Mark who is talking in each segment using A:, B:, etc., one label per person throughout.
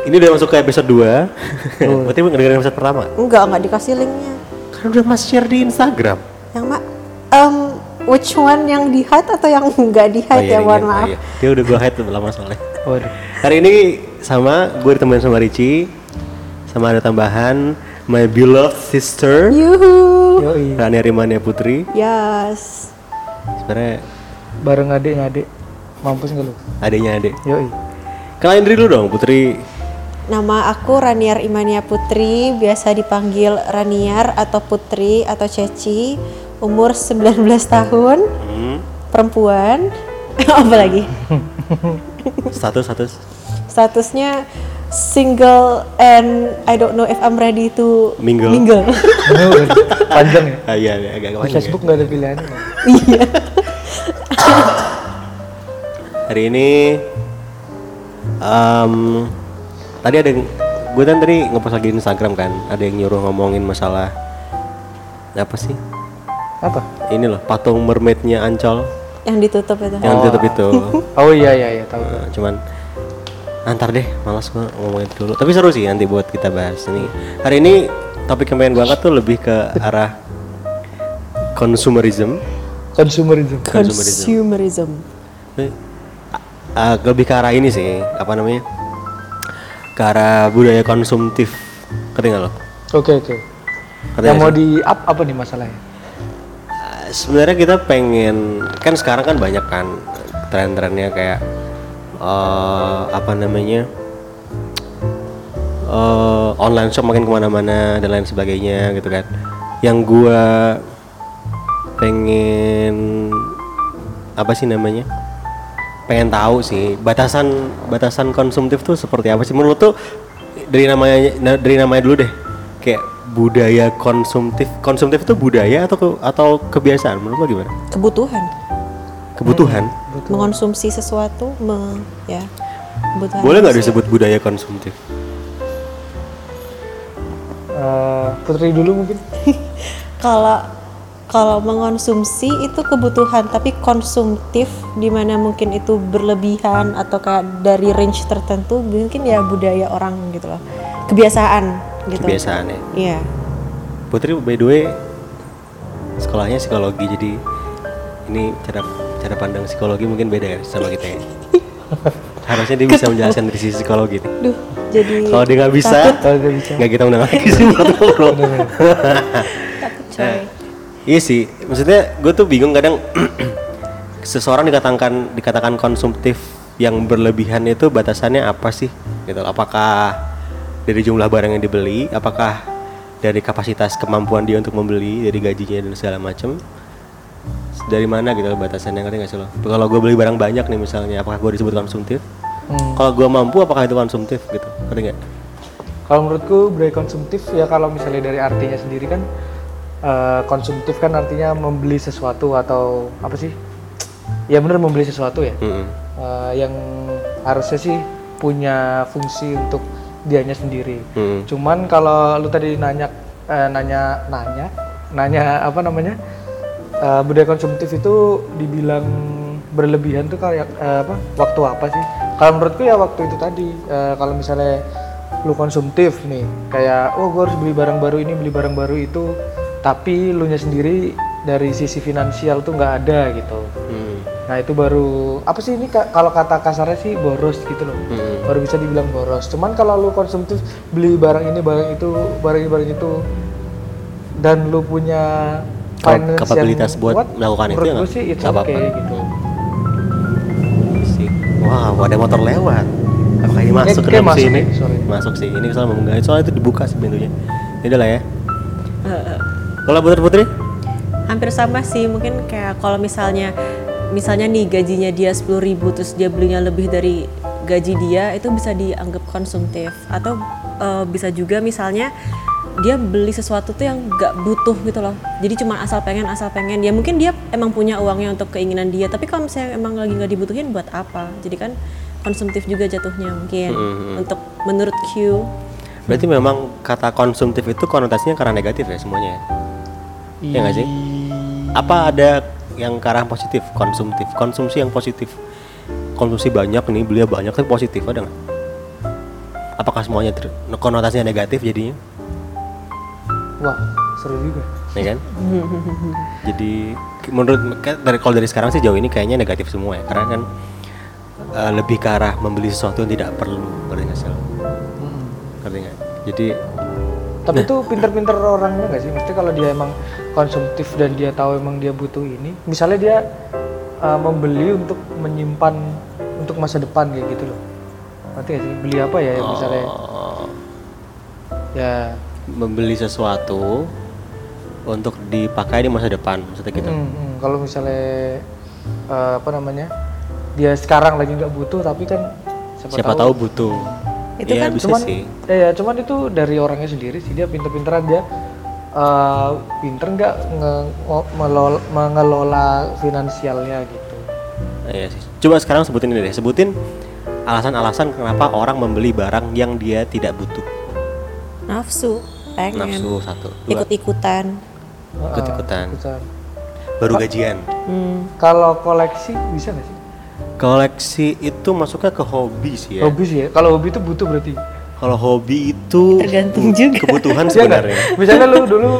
A: Ini udah masuk ke episode 2 Berarti dengerin episode pertama
B: Enggak, enggak dikasih linknya.
A: Kan udah mas share di Instagram
B: Yang mak, em, which one yang di hide atau yang enggak di hide ya,
A: ini
B: mohon
A: yang-
B: maaf.
A: oh iya. Dia udah gua hide lama soalnya
C: Waduh.
A: Hari ini sama gue ditemenin sama Ricci Sama ada tambahan My beloved sister
B: Yuhu.
C: Yoi.
A: Rania Rimania Putri
B: Yes.
A: Sebenarnya
C: Bareng adiknya adik. Mampus nggak lu?
A: adanya adek
C: Yoi.
A: Kalian diri dulu dong Putri
B: Nama aku Raniar Imania Putri, biasa dipanggil Raniar atau Putri atau Ceci. Umur 19 tahun,
A: Hmm,
B: perempuan. Apa lagi?
A: Status status
B: Statusnya single and I don't know if I'm ready to
A: Mingle.
B: mingle.
C: Ini udah Panjang ya.
A: Ah, Iya iya, agak
C: Di
A: panjang ya.
C: Facebook nggak ada pilihan.
A: Hari ini em, Tadi ada yang Gue kan tadi ngepost lagi di Instagram kan Ada yang nyuruh ngomongin masalah Apa sih?
C: Apa?
A: Ini loh patung mermaidnya Ancol
B: yang ditutup itu.
A: Yang tutup itu
C: Oh iya iya iya tahu.
A: Eh, Cuman Antar deh, malas gue ngomongin itu dulu Tapi seru sih nanti buat kita bahas ini Hari ini topik yang pengen gue angkat tuh lebih ke arah Consumerism
C: Consumerism.
B: Consumerism.
A: Eh, eh, lebih ke arah ini sih apa namanya ke arah budaya konsumtif ketinggal lo
C: Oke oke. Yang mau di up apa nih masalahnya?
A: Eh, sebenarnya kita pengen kan sekarang kan banyak kan tren-trennya kayak eh, apa namanya eh, online shop makin kemana-mana dan lain sebagainya gitu kan yang gua pengen apa sih namanya pengen tahu sih batasan batasan konsumtif tuh seperti apa sih menurut tuh dari namanya na- dari namanya dulu deh kayak budaya konsumtif konsumtif itu budaya atau ke- atau kebiasaan menurut lo gimana
B: Kebutuhan.
A: kebutuhan
B: Mengonsumsi sesuatu, me- ya. Kebutuhan.
A: boleh nggak disebut budaya konsumtif
C: Eh, putri dulu mungkin.
B: kalau kalau mengonsumsi itu kebutuhan tapi konsumtif dimana mungkin itu berlebihan atau kayak dari range tertentu mungkin ya budaya orang gitu loh kebiasaan gitu
A: kebiasaan ya
B: iya
A: Putri by the way sekolahnya psikologi jadi ini cara cara pandang psikologi mungkin beda ya sama kita ya harusnya dia bisa menjelaskan dari sisi psikologi nih.
B: duh jadi
A: kalau dia nggak bisa
C: Kalau dia bisa.
A: nggak kita undang lagi sih buat ngobrol. Nah, iya sih maksudnya gue tuh bingung kadang seseorang dikatakan dikatakan konsumtif yang berlebihan itu batasannya apa sih gitu loh. apakah dari jumlah barang yang dibeli apakah dari kapasitas kemampuan dia untuk membeli dari gajinya dan segala macam dari mana gitu loh batasannya ngerti nggak sih lo kalau gue beli barang banyak nih misalnya apakah gue disebut konsumtif
C: Hmm.
A: kalau gue mampu apakah itu konsumtif gitu ngerti nggak
C: Kalau menurutku budaya konsumtif ya kalau misalnya dari artinya sendiri kan eh, konsumtif kan artinya membeli sesuatu atau apa sih? Ya benar membeli sesuatu ya.
A: Mm-mm.
C: Eh, yang harusnya sih punya fungsi untuk dianya sendiri.
A: Mm-mm.
C: Cuman kalau lu tadi nanya eh, nanya nanya nanya apa namanya? Eh, budaya konsumtif itu dibilang berlebihan tuh kayak eh, apa? Waktu apa sih? Kalau menurutku ya waktu itu tadi Eh, kalau misalnya lu konsumtif nih kayak oh gue harus beli barang baru ini beli barang baru itu tapi lu nya sendiri dari sisi finansial tuh nggak ada gitu
A: Mm.
C: Nah itu baru apa sih ini ka- kalau kata kasarnya sih boros gitu loh.
A: Mm-mm.
C: Baru bisa dibilang boros. Cuman kalau lu konsumtif beli barang ini barang itu barang ini barang itu dan lu punya
A: Kap-
C: finance yang
A: kapabilitas buat
C: kuat,
A: melakukan itu
C: menurut
A: ya
C: gua
A: nggak?
C: sih it's
A: Nggak
C: okay
A: apa-apa.
C: gitu.
A: sih. Wow, ada motor lewat. Apakah ini masuk ke
C: Eh, kayak
A: dalam
C: masuk
A: sini?
C: nih, sorry.
A: Masuk sih. Ini soalnya mau enggak, soalnya itu dibuka sih pintunya. Ya udah lah ya. Kalau putri-putri?
B: hampir sama sih mungkin kayak kalau misalnya misalnya nih gajinya dia 10.000 ribu terus dia belinya lebih dari gaji dia itu bisa dianggap konsumtif atau eh, bisa juga misalnya dia beli sesuatu tuh yang gak butuh gitu loh jadi cuma asal pengen asal pengen ya mungkin dia emang punya uangnya untuk keinginan dia tapi kalau misalnya emang lagi nggak dibutuhin buat apa jadi kan konsumtif juga jatuhnya mungkin untuk menurut Q
A: Berarti memang kata konsumtif itu konotasinya karena negatif ya semuanya ya? Iya nggak sih? ya? Apa ada yang ke arah positif, konsumtif, konsumsi yang positif. Konsumsi banyak nih, beliau banyak tapi positif ada nggak? Apakah semuanya ter- konotasinya negatif jadinya?
C: Wah, seru juga.
A: Ya kan? Jadi k- menurut kan dari kalau dari sekarang sih jauh ini kayaknya negatif semua ya, karena kan eh, lebih ke arah membeli sesuatu yang tidak perlu, ngerti nggak sih? lo?
C: Mm-mm.
A: Ngerti nggak? Jadi
C: Tapi itu pinter-pinter orangnya nggak sih? Maksudnya kalau dia emang konsumtif dan dia tahu emang dia butuh ini, misalnya dia uh, membeli untuk menyimpan untuk masa depan kayak gitu loh. Nanti sih beli apa ya yang misalnya?
A: eh,
C: Ya,
A: membeli sesuatu untuk dipakai di masa depan, maksudnya gitu.
C: mm, mm. kalau misalnya uh, apa namanya? Dia sekarang lagi nggak butuh, tapi kan siapa,
A: Siapa
C: tahu.
A: tahu butuh.
B: Itu
A: Iya,
B: kan
A: bisa
C: cuman,
A: sih.
C: ya, ya, cuman itu dari orangnya sendiri sih dia pinter-pinteran dia uh, pinter nggak nge- ngo- melol- mengelola finansialnya gitu.
A: Iya sih. Coba sekarang sebutin ini deh, sebutin alasan-alasan kenapa orang membeli barang yang dia tidak butuh.
B: nafsu pengen
A: Nafsu satu, dua,
B: ikut-ikutan
A: ikut-ikutan.
C: Bukan.
A: Baru gajian.
B: hmm.
C: Kalau koleksi bisa nggak sih?
A: Koleksi itu masuknya ke hobi sih ya.
C: Hobi sih ya. Kalau hobi itu butuh berarti.
A: Kalau hobi itu
B: Tergantung juga.
A: kebutuhan
C: Iya nggak?
A: sebenarnya.
C: Misalnya lu dulu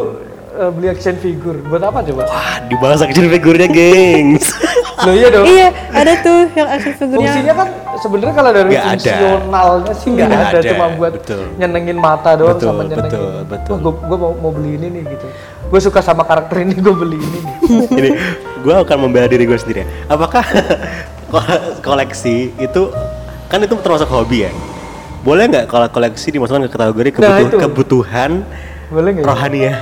C: eh, beli action figure, buat apa coba?
A: Wah, dibahas action figurnya, gengs.
C: Loh iya dong.
B: iya ada tuh yang action
C: Fungsinya
B: figurnya
C: kan sebenarnya kalau dari
A: Nggak ada.
C: fungsionalnya sih nggak
A: Nggak
C: ada,
A: ada,
C: cuma buat
A: betul.
C: nyenengin mata doang
A: Betul,
C: sama nyenengin.
A: betul, betul.
C: Gue mau, mau beli ini nih gitu. Gue suka sama karakter ini, gue beli ini nih.
A: Jadi, gue akan membela diri gue sendiri. ya. Apakah ko- koleksi itu kan itu termasuk hobi ya? Boleh nggak kalau koleksi dimasukkan ke kategori
C: Nah,
A: kebutuh-
C: itu.
A: kebutuhan
C: Boleh nggak? ya?
A: rohani ya?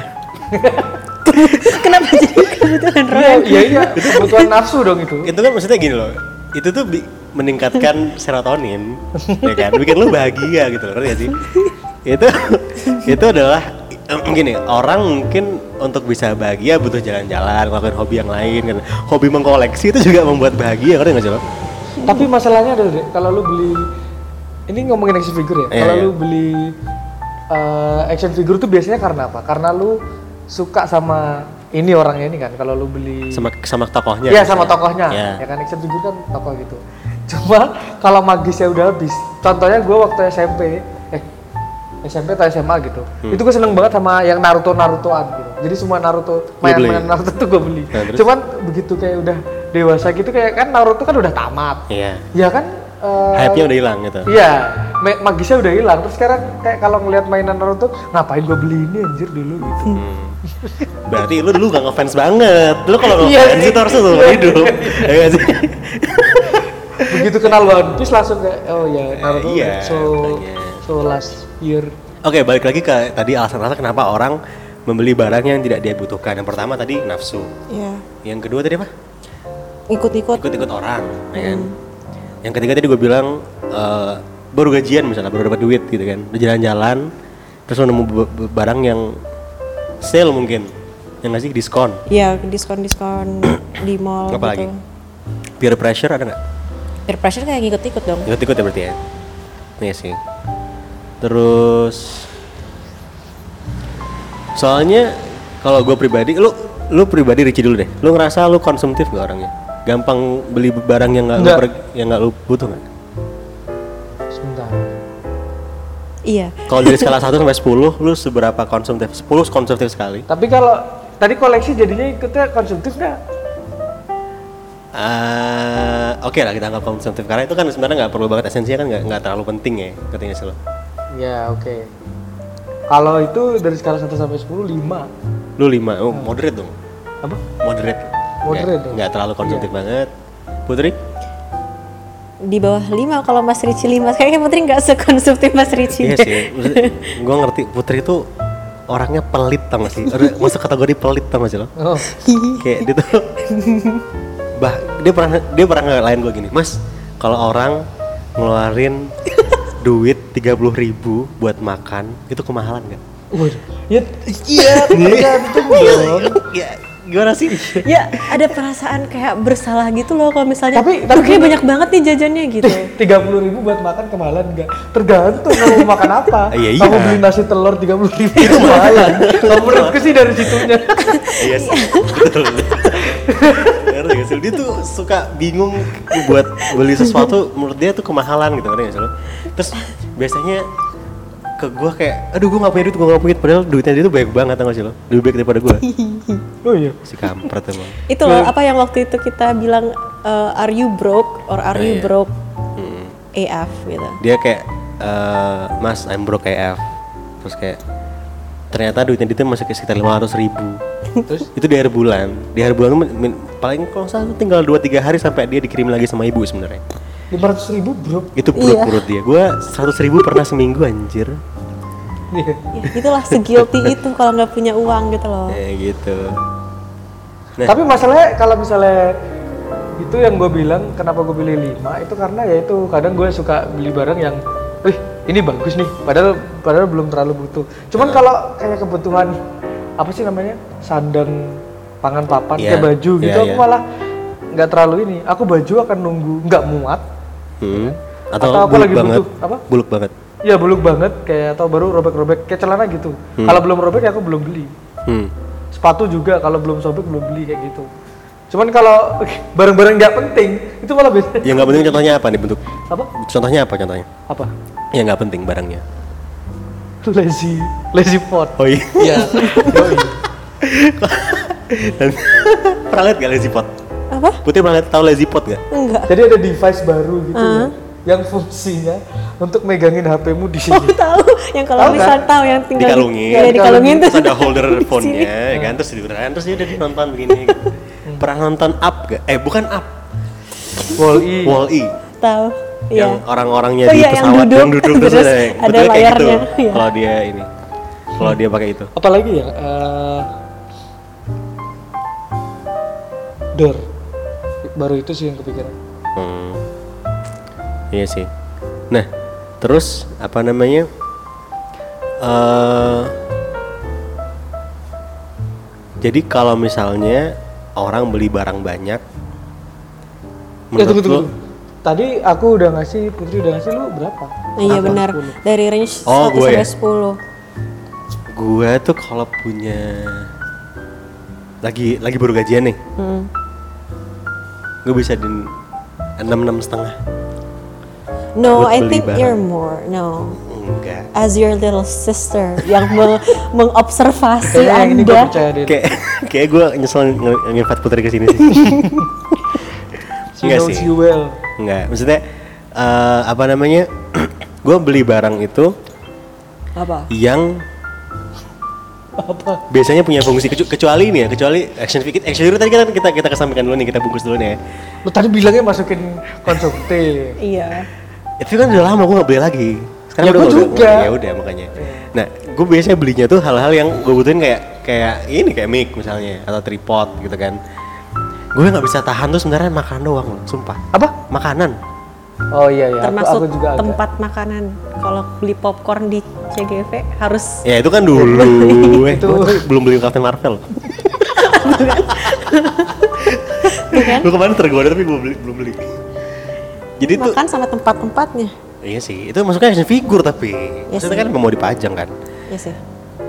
B: kenapa jadi kebutuhan
C: Iya,
B: rohani
C: iya, iya. Itu kebutuhan nafsu dong itu.
A: Itu kan maksudnya gini loh. Itu tuh bi- meningkatkan serotonin, ya kan? Bikin lu bahagia gitu loh, ngerti gak sih? Itu itu adalah gini orang mungkin untuk bisa bahagia butuh jalan-jalan ngelakuin hobi yang lain kan hobi mengkoleksi itu juga membuat bahagia ngerti nggak sih lo?
C: Tapi masalahnya adalah Dek, kalau lu beli ini ngomongin action figure ya.
A: Iya,
C: kalau
A: iya.
C: lu beli eh, action figure tuh biasanya karena apa? Karena lu suka sama ini orangnya ini kan. Kalau lu beli
A: sama sama tokohnya
C: Iya sama
A: misalnya.
C: tokohnya.
A: Iya.
C: Ya kan action figure kan tokoh gitu. Cuma kalau magisnya udah habis. Contohnya gue waktu SMP, eh SMP atau SMA gitu.
A: Hmm.
C: Itu gue seneng banget sama yang Naruto Narutoan gitu. Jadi semua Naruto mainan-mainan
A: beli?
C: Naruto tuh gue beli.
A: Nah, terus?
C: Cuman begitu kayak udah dewasa gitu kayak kan Naruto kan udah tamat.
A: Iya.
C: Ya kan? eh,
A: Hype-nya udah hilang gitu.
C: Iya, ma- magisnya udah hilang. Terus sekarang kayak kalau ngelihat mainan Naruto, ngapain gue beli ini anjir dulu gitu.
A: Berarti lu dulu gak ngefans banget. Lu kalau
C: Iya,
A: ngefans itu harus seumur hidup. Ya nggak sih?
C: Begitu kenal One Piece langsung kayak oh ya Naruto
A: iya,
C: so
A: makanya.
C: so last year.
A: Oke, balik lagi ke tadi alasan-alasan kenapa orang membeli barang yang tidak dia butuhkan. Yang pertama tadi nafsu.
B: Iya.
A: Yang kedua tadi apa?
B: ikut-ikut
A: Ikut-ikut orang, ya kan? Yang ketiga tadi gue bilang eh, baru gajian misalnya, baru dapat duit gitu kan. Udah jalan-jalan terus lu nemu be- be- barang yang sale mungkin. Yang ngasih diskon.
B: ya diskon-diskon di mall
A: apa lagi?
B: gitu
A: Peer pressure ada nggak?
B: peer pressure kayak ngikut-ikut dong
A: Ikut-ikut ya berarti ya? Iya sih Terus Soalnya kalau gue pribadi, lu lu pribadi Ricci dulu deh. Lu ngerasa lu konsumtif gak orangnya? Gampang beli barang yang nggak lu
C: Nggak.
A: per- yang nggak lu butuh nggak?
C: Sebentar.
B: iya
A: Kalau dari skala 1 sampai 10, lu seberapa konsumtif? 10 konsumtif sekali.
C: Tapi kalau tadi koleksi jadinya ikutnya konsumtif nggak?
A: Eh, Oke lah kita anggap konsumtif karena itu kan sebenarnya nggak perlu banget esensinya kan nggak nggak terlalu penting ya katanya sih lo.
C: Ya oke. Kalau itu dari skala 1 sampai 10, 5.
A: Lu 5, oh, moderate dong.
C: Apa?
A: moderate
C: Moderate
A: nggak,
C: ya?
A: nggak terlalu konsumtif banget Putri
B: di bawah 5 kalau Mas Ricci 5 kayaknya Putri nggak sekonsumtif Mas Ricci
A: iya sih gue ngerti Putri itu orangnya pelit tau gak sih Udah masuk kategori pelit tau gak sih lo
C: Oh.
A: kayak dia tuh bah dia pernah dia pernah ngelain gue gini mas kalau orang ngeluarin duit 30.000 ribu buat makan itu kemahalan nggak
C: Waduh. Ya, iya, tergantung dong.
A: ya gimana sih?
B: ya ada perasaan kayak bersalah gitu loh kalau misalnya
C: Tapi-
B: "Duh,
C: tapi- Iya.
B: kayaknya banyak banget nih jajannya gitu
C: tiga puluh ribu buat makan kemahalan nggak tergantung kamu mau makan apa
A: Iya, iya.
C: kamu beli nasi telur tiga puluh ribu lumayan kalau menurutku sih dari situnya
A: Iya sih. Betul. Iya, Ngerti nggak sih? Dia tuh suka bingung buat beli sesuatu menurut dia tuh kemahalan gitu ngerti nggak sih lo? Terus biasanya ke gua kayak aduh gua nggak punya duit gua nggak punya duit padahal duitnya dia tuh banyak banget tau nggak sih lo lebih baik daripada gua
C: oh iya
A: si kampret emang
B: itu loh apa yang waktu itu kita bilang eh, are you broke or are
A: Nah,
B: you
A: iya.
B: broke
A: Mm.
B: AF gitu
A: dia kayak eh, mas I'm broke AF terus kayak ternyata duitnya dia tuh masih kayak sekitar 500 ribu
C: terus
A: itu di akhir bulan di akhir bulan tuh min- min- paling kalau nggak salah tuh tinggal 2-3 hari sampai dia dikirim lagi sama ibu sebenarnya
C: lima ratus ribu bro
B: Iya.
A: itu perut perut dia gue 100 ribu pernah seminggu anjir
C: Iya.
B: ya, itulah segilty itu kalau nggak punya uang gitu loh
A: kayak gitu Nah.
C: Tapi masalahnya kalau misalnya itu yang gue bilang kenapa gue pilih 5 itu karena ya itu kadang gue suka beli barang yang wih ini bagus nih padahal padahal belum terlalu butuh.
A: Nah.
C: Cuman kalau kayak kebutuhan apa sih namanya? sandang pangan papan
A: Iya.
C: kayak baju gitu
A: Iya,
C: aku
A: iya.
C: malah nggak terlalu ini. Aku baju akan nunggu nggak muat.
A: Hmm. atau,
C: Atau aku
A: buluk
C: lagi
A: banget
C: butuh, apa?
A: buluk banget
C: Ya buluk banget kayak atau baru robek-robek kayak celana gitu. Kalau belum robek ya aku belum beli.
A: hmm.
C: sepatu juga kalau belum sobek belum beli kayak gitu cuman kalau barang-barang nggak penting itu malah biasanya
A: yang nggak penting contohnya apa nih bentuk
C: apa
A: contohnya apa contohnya
C: apa
A: yang nggak penting barangnya
C: itu lazy lazy pot
A: oh iya
C: iya
A: Dan- pernah lihat gak lazy pot
B: apa
A: putri pernah lihat tahu lazy pot gak
B: enggak
C: jadi ada device baru gitu ya, yang fungsinya untuk megangin HP-mu di sini
B: aku tahu yang kalau
C: Tahu kan?
B: misal tahu yang tinggal
A: Dikalungin.
B: di, ya, dikalungin
A: terus
B: terus
A: ada holder
B: di sini. Hmm.
A: phone-nya ya kan terus tiduran terus dia udah nonton begini gitu. pernah nonton up gak eh bukan up
C: wall E
A: wall E
B: tahu ya
A: yang orang-orangnya
B: Iya. Oh
A: di
B: iya, yang
A: pesawat
B: duduk,
A: terus,
B: terus
A: ada,
B: ada
A: bentuknya ya. kayak gitu
B: layarnya, iya.
A: kalau dia ini kalau dia pakai itu
C: apalagi ya eh, door baru itu sih yang kepikiran Eh,
A: Hmm. Iya sih. Nah, terus apa namanya? eh jadi kalau misalnya orang beli barang banyak,
C: ya tunggu
A: menurut
C: tunggu
A: lu-
C: tunggu. tadi aku udah ngasih Putri udah ngasih lu berapa
B: Nah, iya benar dari range
A: Oh,
B: 1
A: gue ya?
B: sampai 10
A: gue tuh kalau punya lagi lagi baru gajian nih,
B: Hmm.
A: gue bisa di enam enam setengah.
B: no
A: Buat
B: I
A: beli
B: think
A: barang.
B: you're more no
A: Enggak.
B: as your little sister yang meng- mengobservasi
C: Kayaknya yang ini gue
B: anda
C: percaya deh
A: Kayak kayak gue nyesel nge- nginvite putri ke sini sih.
C: She
A: Enggak
C: knows
A: sih.
C: you well.
A: Enggak, maksudnya eh, apa namanya? gue beli barang itu
B: apa
A: yang
C: Apa?
A: biasanya punya fungsi kecu- kecuali ini ya, kecuali action figure. Action figure tadi kan kita kita kesampingkan dulu nih, kita bungkus dulu nih ya.
C: Lu tadi bilangnya masukin konsumtif.
B: iya
A: Itu kan udah lama gue gak beli lagi. Sekarang
C: Ya,
A: udah
C: gua
A: udah-
C: juga.
A: Ya udah makanya. Nah, gue biasanya belinya tuh hal-hal yang gue butuhin kayak kayak ini kayak mic misalnya atau tripod gitu kan. Gue nggak bisa tahan tuh sebenarnya makanan doang loh, sumpah.
C: Apa?
A: Makanan.
C: Oh iya ya,
B: termasuk
C: aku, aku juga agak.
B: tempat makanan kalau beli popcorn di CGV harus
A: Ya itu kan dulu. eh,
C: Itu.
A: gua tuh belum beli Captain Marvel.
B: kan?
A: Gue kemarin tergoda tapi gue beli, belum beli. Jadi tuh
B: makan sama tempat-tempatnya
A: iya sih, itu maksudnya action figure tapi
B: Iya
A: maksudnya kan mau dipajang kan.
B: ya sih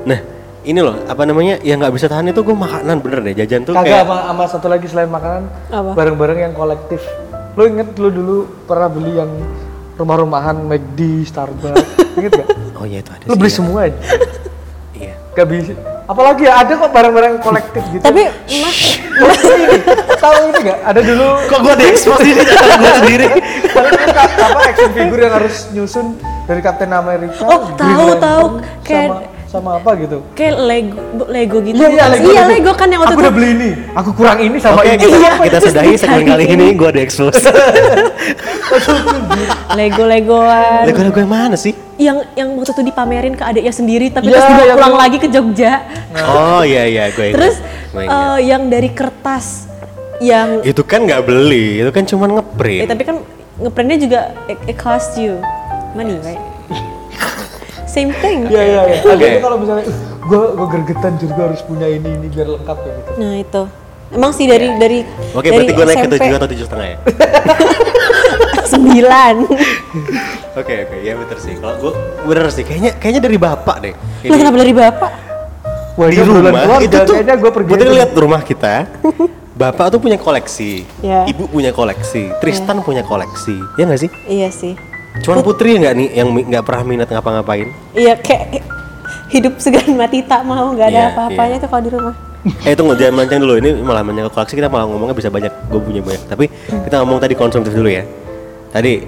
A: Nah, ini loh apa namanya yang nggak bisa tahan itu gue makanan bener deh jajan tuh
C: Kagak
A: kayak
C: sama, sama satu lagi selain makanan,
B: Apa?
C: barang-barang yang kolektif. Lu inget lu dulu pernah beli yang rumah-rumahan McD, Starbucks, inget gak?
A: oh iya itu ada
C: Lu
A: sih,
C: beli
A: ya.
C: semua aja.
A: Iya.
C: Gak bisa. Apalagi ya, ada kok barang-barang kolektif gitu.
B: tapi mas
C: Lu ini, tahu ini gak? Ada dulu
A: Kok gue diekspos di sini gue sendiri?
C: apa action figure yang harus nyusun dari Captain America,
B: Oh,
C: Green
B: tahu,
C: Lantern,
B: tahu.
C: sama,
B: Kayak-
C: sama apa gitu.
B: kayak Lego Lego gitu
C: Iya, iya,
B: bukan sih?
C: Lego,
B: Iya,
C: Lego.
B: Lego kan yang waktu
C: aku
B: itu
C: udah beli ini, aku kurang ini sama
A: Oke,
C: ini.
A: kita,
B: Iya,
A: kita
B: terus
A: sudahi segmen
B: dicari
A: kali
B: ini.
A: ini gue diekspos.
B: Lego Legoan
A: Lagu-lagu yang mana sih?
B: yang yang waktu itu dipamerin ke adiknya sendiri tapi
C: Iya,
A: Ya,
B: terus dibawa
C: yang
B: pulang
C: dulu.
B: lagi ke Jogja
A: Oh iya iya gue
B: terus eh, yang dari kertas yang
A: itu kan nggak beli, itu kan cuma
B: eh,
A: ngeprint.
B: tapi kan ngeprintnya juga it, it cost you money right same thing
C: Iya iya iya. Ada
A: Oke.
C: itu kalau misalnya "Uh, gue gue gergetan jadi gue harus punya ini ini biar lengkap ya gitu
B: Nah itu. Emang sih dari dari
A: Ya. Oke,
B: dari
A: berarti gue naik ke
B: SMP
A: tujuh atau tujuh setengah ya.
B: sembilan.
A: Oke, oke, ya bener sih. Kalau gue bener sih, kayaknya kayaknya dari bapak deh.
B: Lah
A: Ini-
B: kenapa dari bapak?
C: Wah,
A: di
C: ini obrolan
A: rumah
C: keluarga,
A: itu tuh
C: kayaknya gue pergi
A: putri
C: aja.
A: lihat rumah kita bapak tuh punya koleksi
B: Iya.
A: ibu punya koleksi Tristan punya koleksi ya nggak sih
B: Iya sih.
A: cuman putri nggak nih yang mi- nggak pernah minat ngapa-ngapain
B: Iya kayak hidup segan mati tak mau nggak ada
A: Iya,
B: apa-apanya
A: iya.
B: tuh kalau di rumah.
A: eh tunggu jangan melenceng dulu ini malah menyangkut koleksi kita malah ngomongnya bisa banyak gue punya banyak tapi kita ngomong tadi konsumtif dulu ya tadi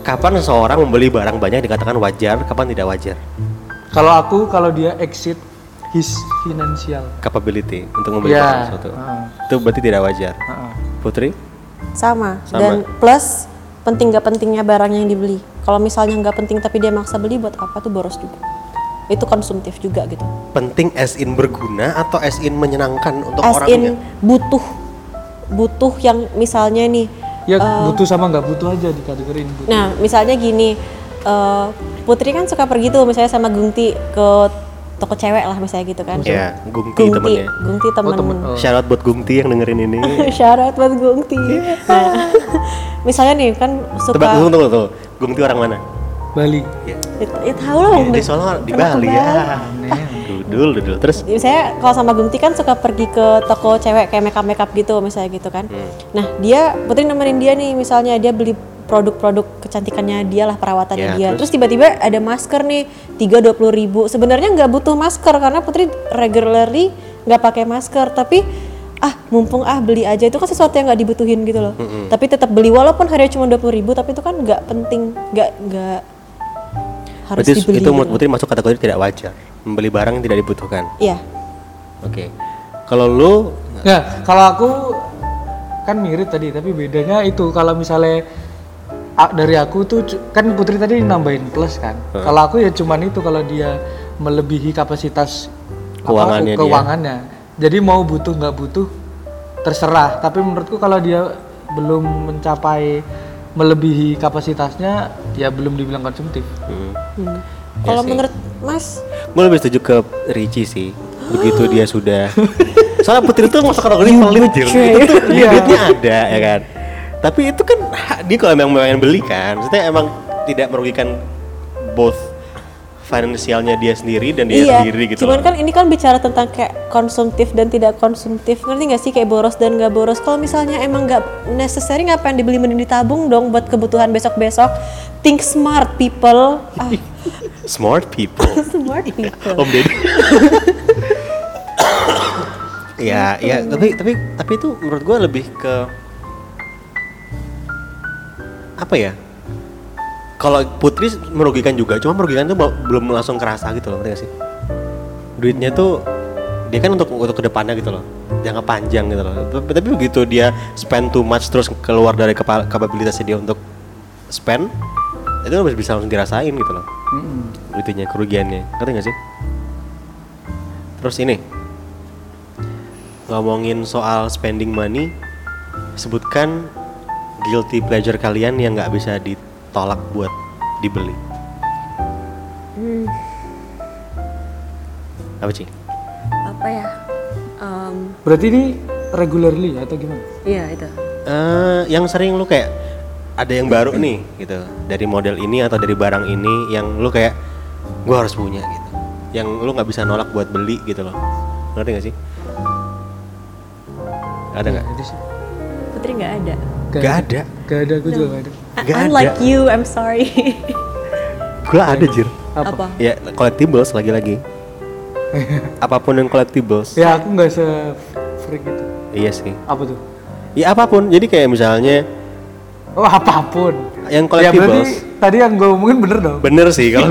A: kapan seseorang membeli barang banyak dikatakan wajar kapan tidak wajar
C: kalau aku kalau dia exit his financial
A: capability untuk membeli
C: Iya.
A: barang sesuatu
C: Heeh.
A: itu berarti tidak wajar
C: Heeh.
A: putri
B: Sama.
A: Sama.
B: Dan plus penting nggak pentingnya barang yang dibeli. Kalau misalnya nggak penting tapi dia maksa beli buat apa tuh boros juga. Itu konsumtif juga gitu.
A: penting as in berguna atau as in menyenangkan untuk
B: As
A: orangnya
B: in butuh butuh yang misalnya nih
C: ya butuh sama nggak butuh aja dikategorin bu
B: Nah, misalnya gini, eh, Putri kan suka pergi tuh misalnya sama Gungti ke toko cewek lah misalnya gitu kan.
A: Iya, Gungti
B: Gungti,
A: temennya.
B: Gungti temen.
C: temen. Oh.
A: Syarat buat Gumti yang dengerin ini.
B: Syarat buat Gungti.
A: Iya.
B: Nah, misalnya nih kan
A: Tebak
B: suka
A: tunggu tunggu tunggu. Gumti orang mana?
C: Bali
B: ya, ya tahu lah Bang.
A: Iya, Di Solo, di
B: Pernah ke
A: Bali ya. Dudul, dudul. Terus
B: Misalnya kalau sama Gungti kan suka pergi ke toko cewek kayak makeup makeup gitu misalnya gitu kan.
A: Hmm.
B: Nah, dia Putri nemenin dia nih misalnya dia beli produk-produk kecantikannya dia lah
A: Ya,
B: perawatannya dia.
A: terus?
B: Terus tiba-tiba ada masker nih tiga dua ribu. Sebenarnya nggak butuh masker karena Putri regularly nggak pakai masker tapi ah mumpung ah beli aja itu kan sesuatu yang nggak dibutuhin gitu loh. Tapi tetap beli walaupun harganya cuma dua ribu tapi itu kan nggak penting nggak nggak harus
A: berarti
B: dibeli.
A: itu menurut
B: gitu.
A: Putri masuk kategori tidak wajar. Membeli barang yang tidak dibutuhkan.
B: Iya.
A: Oke. Kalau lu
C: Nah, kalau aku kan mirip tadi, tapi bedanya itu kalau misalnya a- dari aku tuh cu- kan Putri tadi nambahin plus kan. Kalau aku ya cuman itu kalau dia melebihi kapasitas apa,
A: Keuangannya dia.
C: keuangannya. Jadi mau butuh nggak butuh terserah. Tapi menurutku kalau dia belum mencapai melebihi kapasitasnya ya belum dibilang konsumtif.
A: hmm,
B: Hmm.
A: Iya
B: Kalau
A: sih.
B: menurut Mas
A: gue lebih setuju ke Ricci sih. Begitu dia sudah Soalnya Putri tuh masuk kategori pelit anjir. Itu tuh dia
B: Iya.
A: duitnya ada ya kan. Tapi itu kan hak dia kalau emang pengen beli kan. Maksudnya emang tidak merugikan both finansialnya dia sendiri dan dia sendiri gitu
B: Cuman
A: loh.
B: kan ini kan bicara tentang kayak konsumtif dan tidak konsumtif. Ngerti nggak sih kayak boros dan nggak boros? Kalau misalnya emang nggak necessary ngapain dibeli mending ditabung dong buat kebutuhan besok-besok. Think smart people. Ah,
A: smart people.
B: smart people.
A: Om Deddy. ya, ya, tapi tapi tapi itu menurut gue lebih ke apa ya? Kalau Putri merugikan juga, cuma merugikan tuh bel- belum langsung kerasa gitu loh, ngerti gak sih? Duitnya tuh dia kan untuk untuk kedepannya gitu loh, jangka panjang gitu loh. Tapi, tapi begitu dia spend too much terus keluar dari kepa- kapabilitasnya dia untuk spend, itu harus bisa langsung dirasain gitu loh itunya kerugiannya ngerti nggak sih terus ini ngomongin soal spending money sebutkan guilty pleasure kalian yang nggak bisa ditolak buat dibeli apa sih
B: Apa ya? Em,
C: Berarti ini regularly atau gimana?
B: Iya itu.
A: Eh, yang sering lu kayak ada yang baru nih gitu dari model ini atau dari barang ini yang lu kayak gua harus punya gitu yang lu nggak bisa nolak buat beli gitu loh ngerti gak sih ada nggak
C: Itu Iya, sih.
B: Putri nggak ada.
A: Nggak ada
C: Gak ada, gue juga gak ada.
B: I-
A: Nggak
B: I'm
A: ada.
B: like you, I'm sorry.
A: gua ada jir
C: Apa?
B: Apa?
A: ya collectibles lagi-lagi apapun yang collectibles
C: Ya aku nggak se freak gitu.
A: iya sih
C: Apa tuh?
A: ya apapun jadi kayak misalnya
C: Oh apapun.
A: yang
C: Ya berarti
A: collectibles
C: tadi yang gue omongin bener dong.
A: bener sih kalau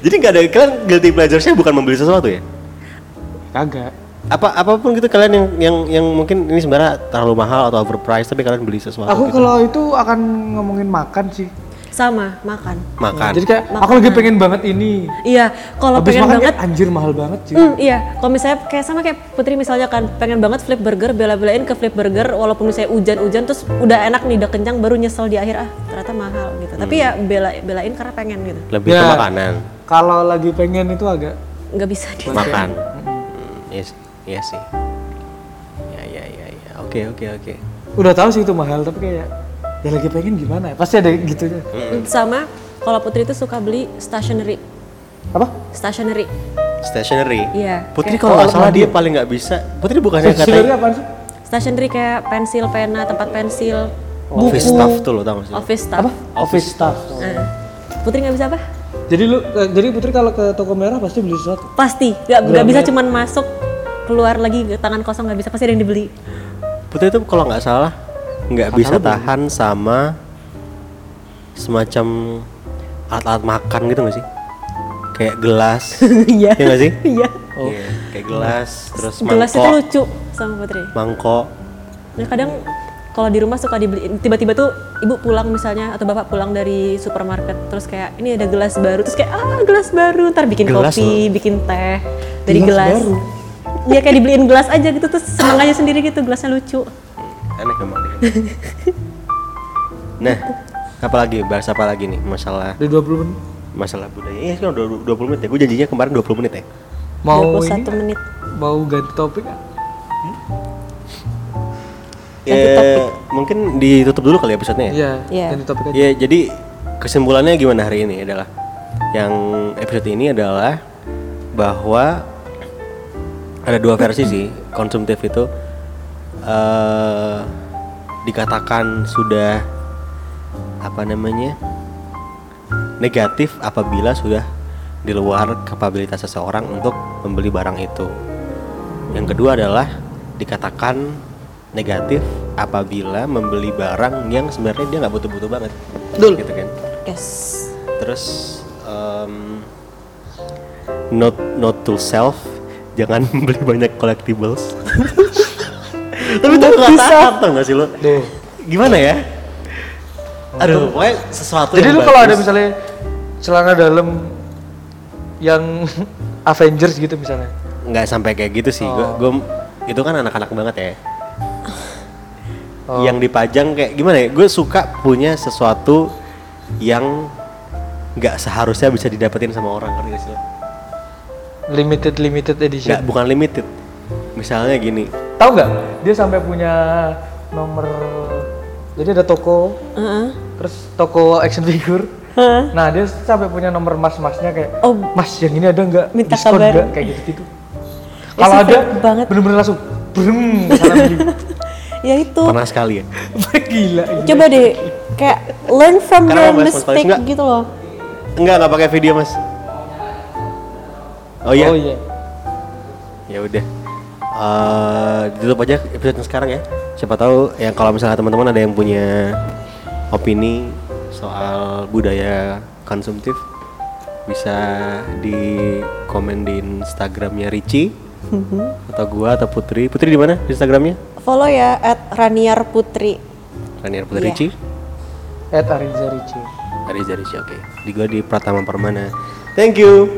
A: jadi nggak ada kalian guilty pleasure-nya bukan membeli sesuatu ya
C: Kagak.
A: apa apapun gitu kalian yang yang yang mungkin ini sebenarnya terlalu mahal atau overpriced tapi kalian beli sesuatu
C: Aku
A: gitu.
C: kalau itu akan ngomongin makan sih.
B: sama makan
A: makan
C: Jadi kayak aku lagi pengen banget ini.
B: iya kalau
C: Habis
B: pengen
A: ya?
C: makan
B: banget
C: kayak, anjir mahal banget cuy.
B: Hmm, iya, kalau misalnya kayak sama kayak Putri misalnya kan pengen banget flip burger, bela-belain ke flip burger walaupun misalnya hujan-hujan terus udah enak nih udah kenyang baru nyesel di akhir ah ternyata mahal gitu. Tapi ya bela belain karena pengen gitu.
A: lebih ke
C: Ya.
A: makanan
C: Kalau lagi pengen itu agak
B: Nggak bisa di.
A: makan Hmm, iya sih- iya sih ya ya ya ya oke oke oke
C: udah tahu sih itu mahal tapi kayak ya lagi pengen gimana ya? Pasti ada gitunya.
B: Sama kalau Putri itu suka beli stationery.
C: Apa?
B: Stationery.
A: stationery
B: Iya.
A: Putri
B: kayak-
A: kalau nggak
C: kalau
A: salah
C: mandi.
A: dia paling nggak bisa Putri bukannya
C: Sebenarnya
A: katanya
C: apaan sih?
B: stationery kayak pensil, pena, tempat pensil,
A: office staff tuh loh tau nggak sih
B: office stuff.
C: Apa? Office staff.
B: Nah, Putri nggak bisa apa?
C: Jadi lu eh, jadi Putri kalau ke toko merah pasti beli sesuatu.
B: Pasti. Nggak nggak bisa cuman masuk keluar lagi tangan kosong nggak bisa pasti ada yang dibeli.
A: Putri itu kalau nggak salah nggak bisa tahan sama semacam alat-alat makan gitu nggak sih? Kayak gelas,
B: Iya.
A: ya nggak sih?
B: Iya.
A: Oh. kayak gelas, terus
B: Gelas itu
A: mangkok,
B: lucu sama Putri.
A: mangkok.
B: Nah kadang kalau di rumah suka dibeli tiba-tiba tuh ibu pulang misalnya atau bapak pulang dari supermarket terus kayak ini ada gelas baru terus kayak ah gelas baru ntar bikin
A: Gelas
B: kopi bikin teh dari
C: Gelas
B: gelas,
C: baru?
B: Iya kayak dibeliin gelas aja gitu terus seneng aja sendiri gitu gelasnya lucu
A: Aneh memang. dia. ya, nah, apalagi bahas apa lagi nih masalah
C: Di 20 menit.
A: masalah budaya. Iya, kan udah 20 menit ya. Gue janjinya kemarin 20 menit ya.
C: Mau
B: 21
C: ini?
B: menit
C: Mau ganti topik? nggak?
B: Ganti
A: Ya, mungkin ditutup dulu kali episode-nya ya.
C: Iya,
B: Iya.
C: ganti topik aja.
A: Ya, jadi kesimpulannya gimana hari ini adalah yang episode ini adalah bahwa ada dua versi sih konsumtif itu eh dikatakan sudah apa namanya negatif apabila sudah di luar kapabilitas seseorang untuk membeli barang itu. Yang kedua adalah dikatakan negatif apabila membeli barang yang sebenarnya dia nggak butuh-butuh banget. Gitu kan.
B: yes
A: Terus em, not not to self jangan beli banyak collectibles. Tapi itu perkataan tau nggak sih lo?
C: Deh.
A: Gimana ya? Aduh, pokoknya sesuatu
C: Jadi
A: yang
C: lu kalau ada
A: bagus.
C: misalnya celana dalam yang Avengers gitu misalnya.
A: nggak sampai kayak gitu sih. Gua, gua- itu kan anak-anak banget ya. Yang dipajang kayak gimana ya? Gue suka punya sesuatu yang nggak seharusnya bisa didapetin sama orang ngerti gak sih lo?
C: Limited limited
A: Nggak,
C: edition.
A: bukan limited. Misalnya gini,
C: Tahu nggak? Dia sampai punya nomor jadi ada toko,
B: Heeh.
C: terus toko action figure.
B: Heeh.
C: Nah, dia sampai punya nomor mas-masnya kayak,
B: Oh.
C: "Mas, yang ini ada nggak?
B: Minta
C: Diskon
B: kabar."
C: nggak?" kayak gitu-gitu. Kalau
B: so
C: ada
B: fake banget.
C: bener-bener langsung brem salam gitu. Iya.
B: ya itu
A: pernah sekali ya.
C: gila, gila.
B: coba deh kayak learn from
A: Karena
B: your
A: mau bahas
B: mistake
A: nggak?
B: gitu loh
A: Enggak, nggak pakai video, Mas. Oh
C: Oh
A: iya,
C: iya.
A: ya udah. Eh, ditutup aja episode yang sekarang ya. Siapa tahu ya kalau misalnya teman-teman ada yang punya opini soal budaya konsumtif bisa di komen di Instagramnya Ricci atau gua atau Putri. Putri di mana Instagramnya?
B: follow ya at Raniar Putri
A: Ranier Putri
B: Iya.
A: Ricci.
C: At Ariza Ricci.
A: Ranier Ricci, oke. Di gua di Pratama Permana. Thank you.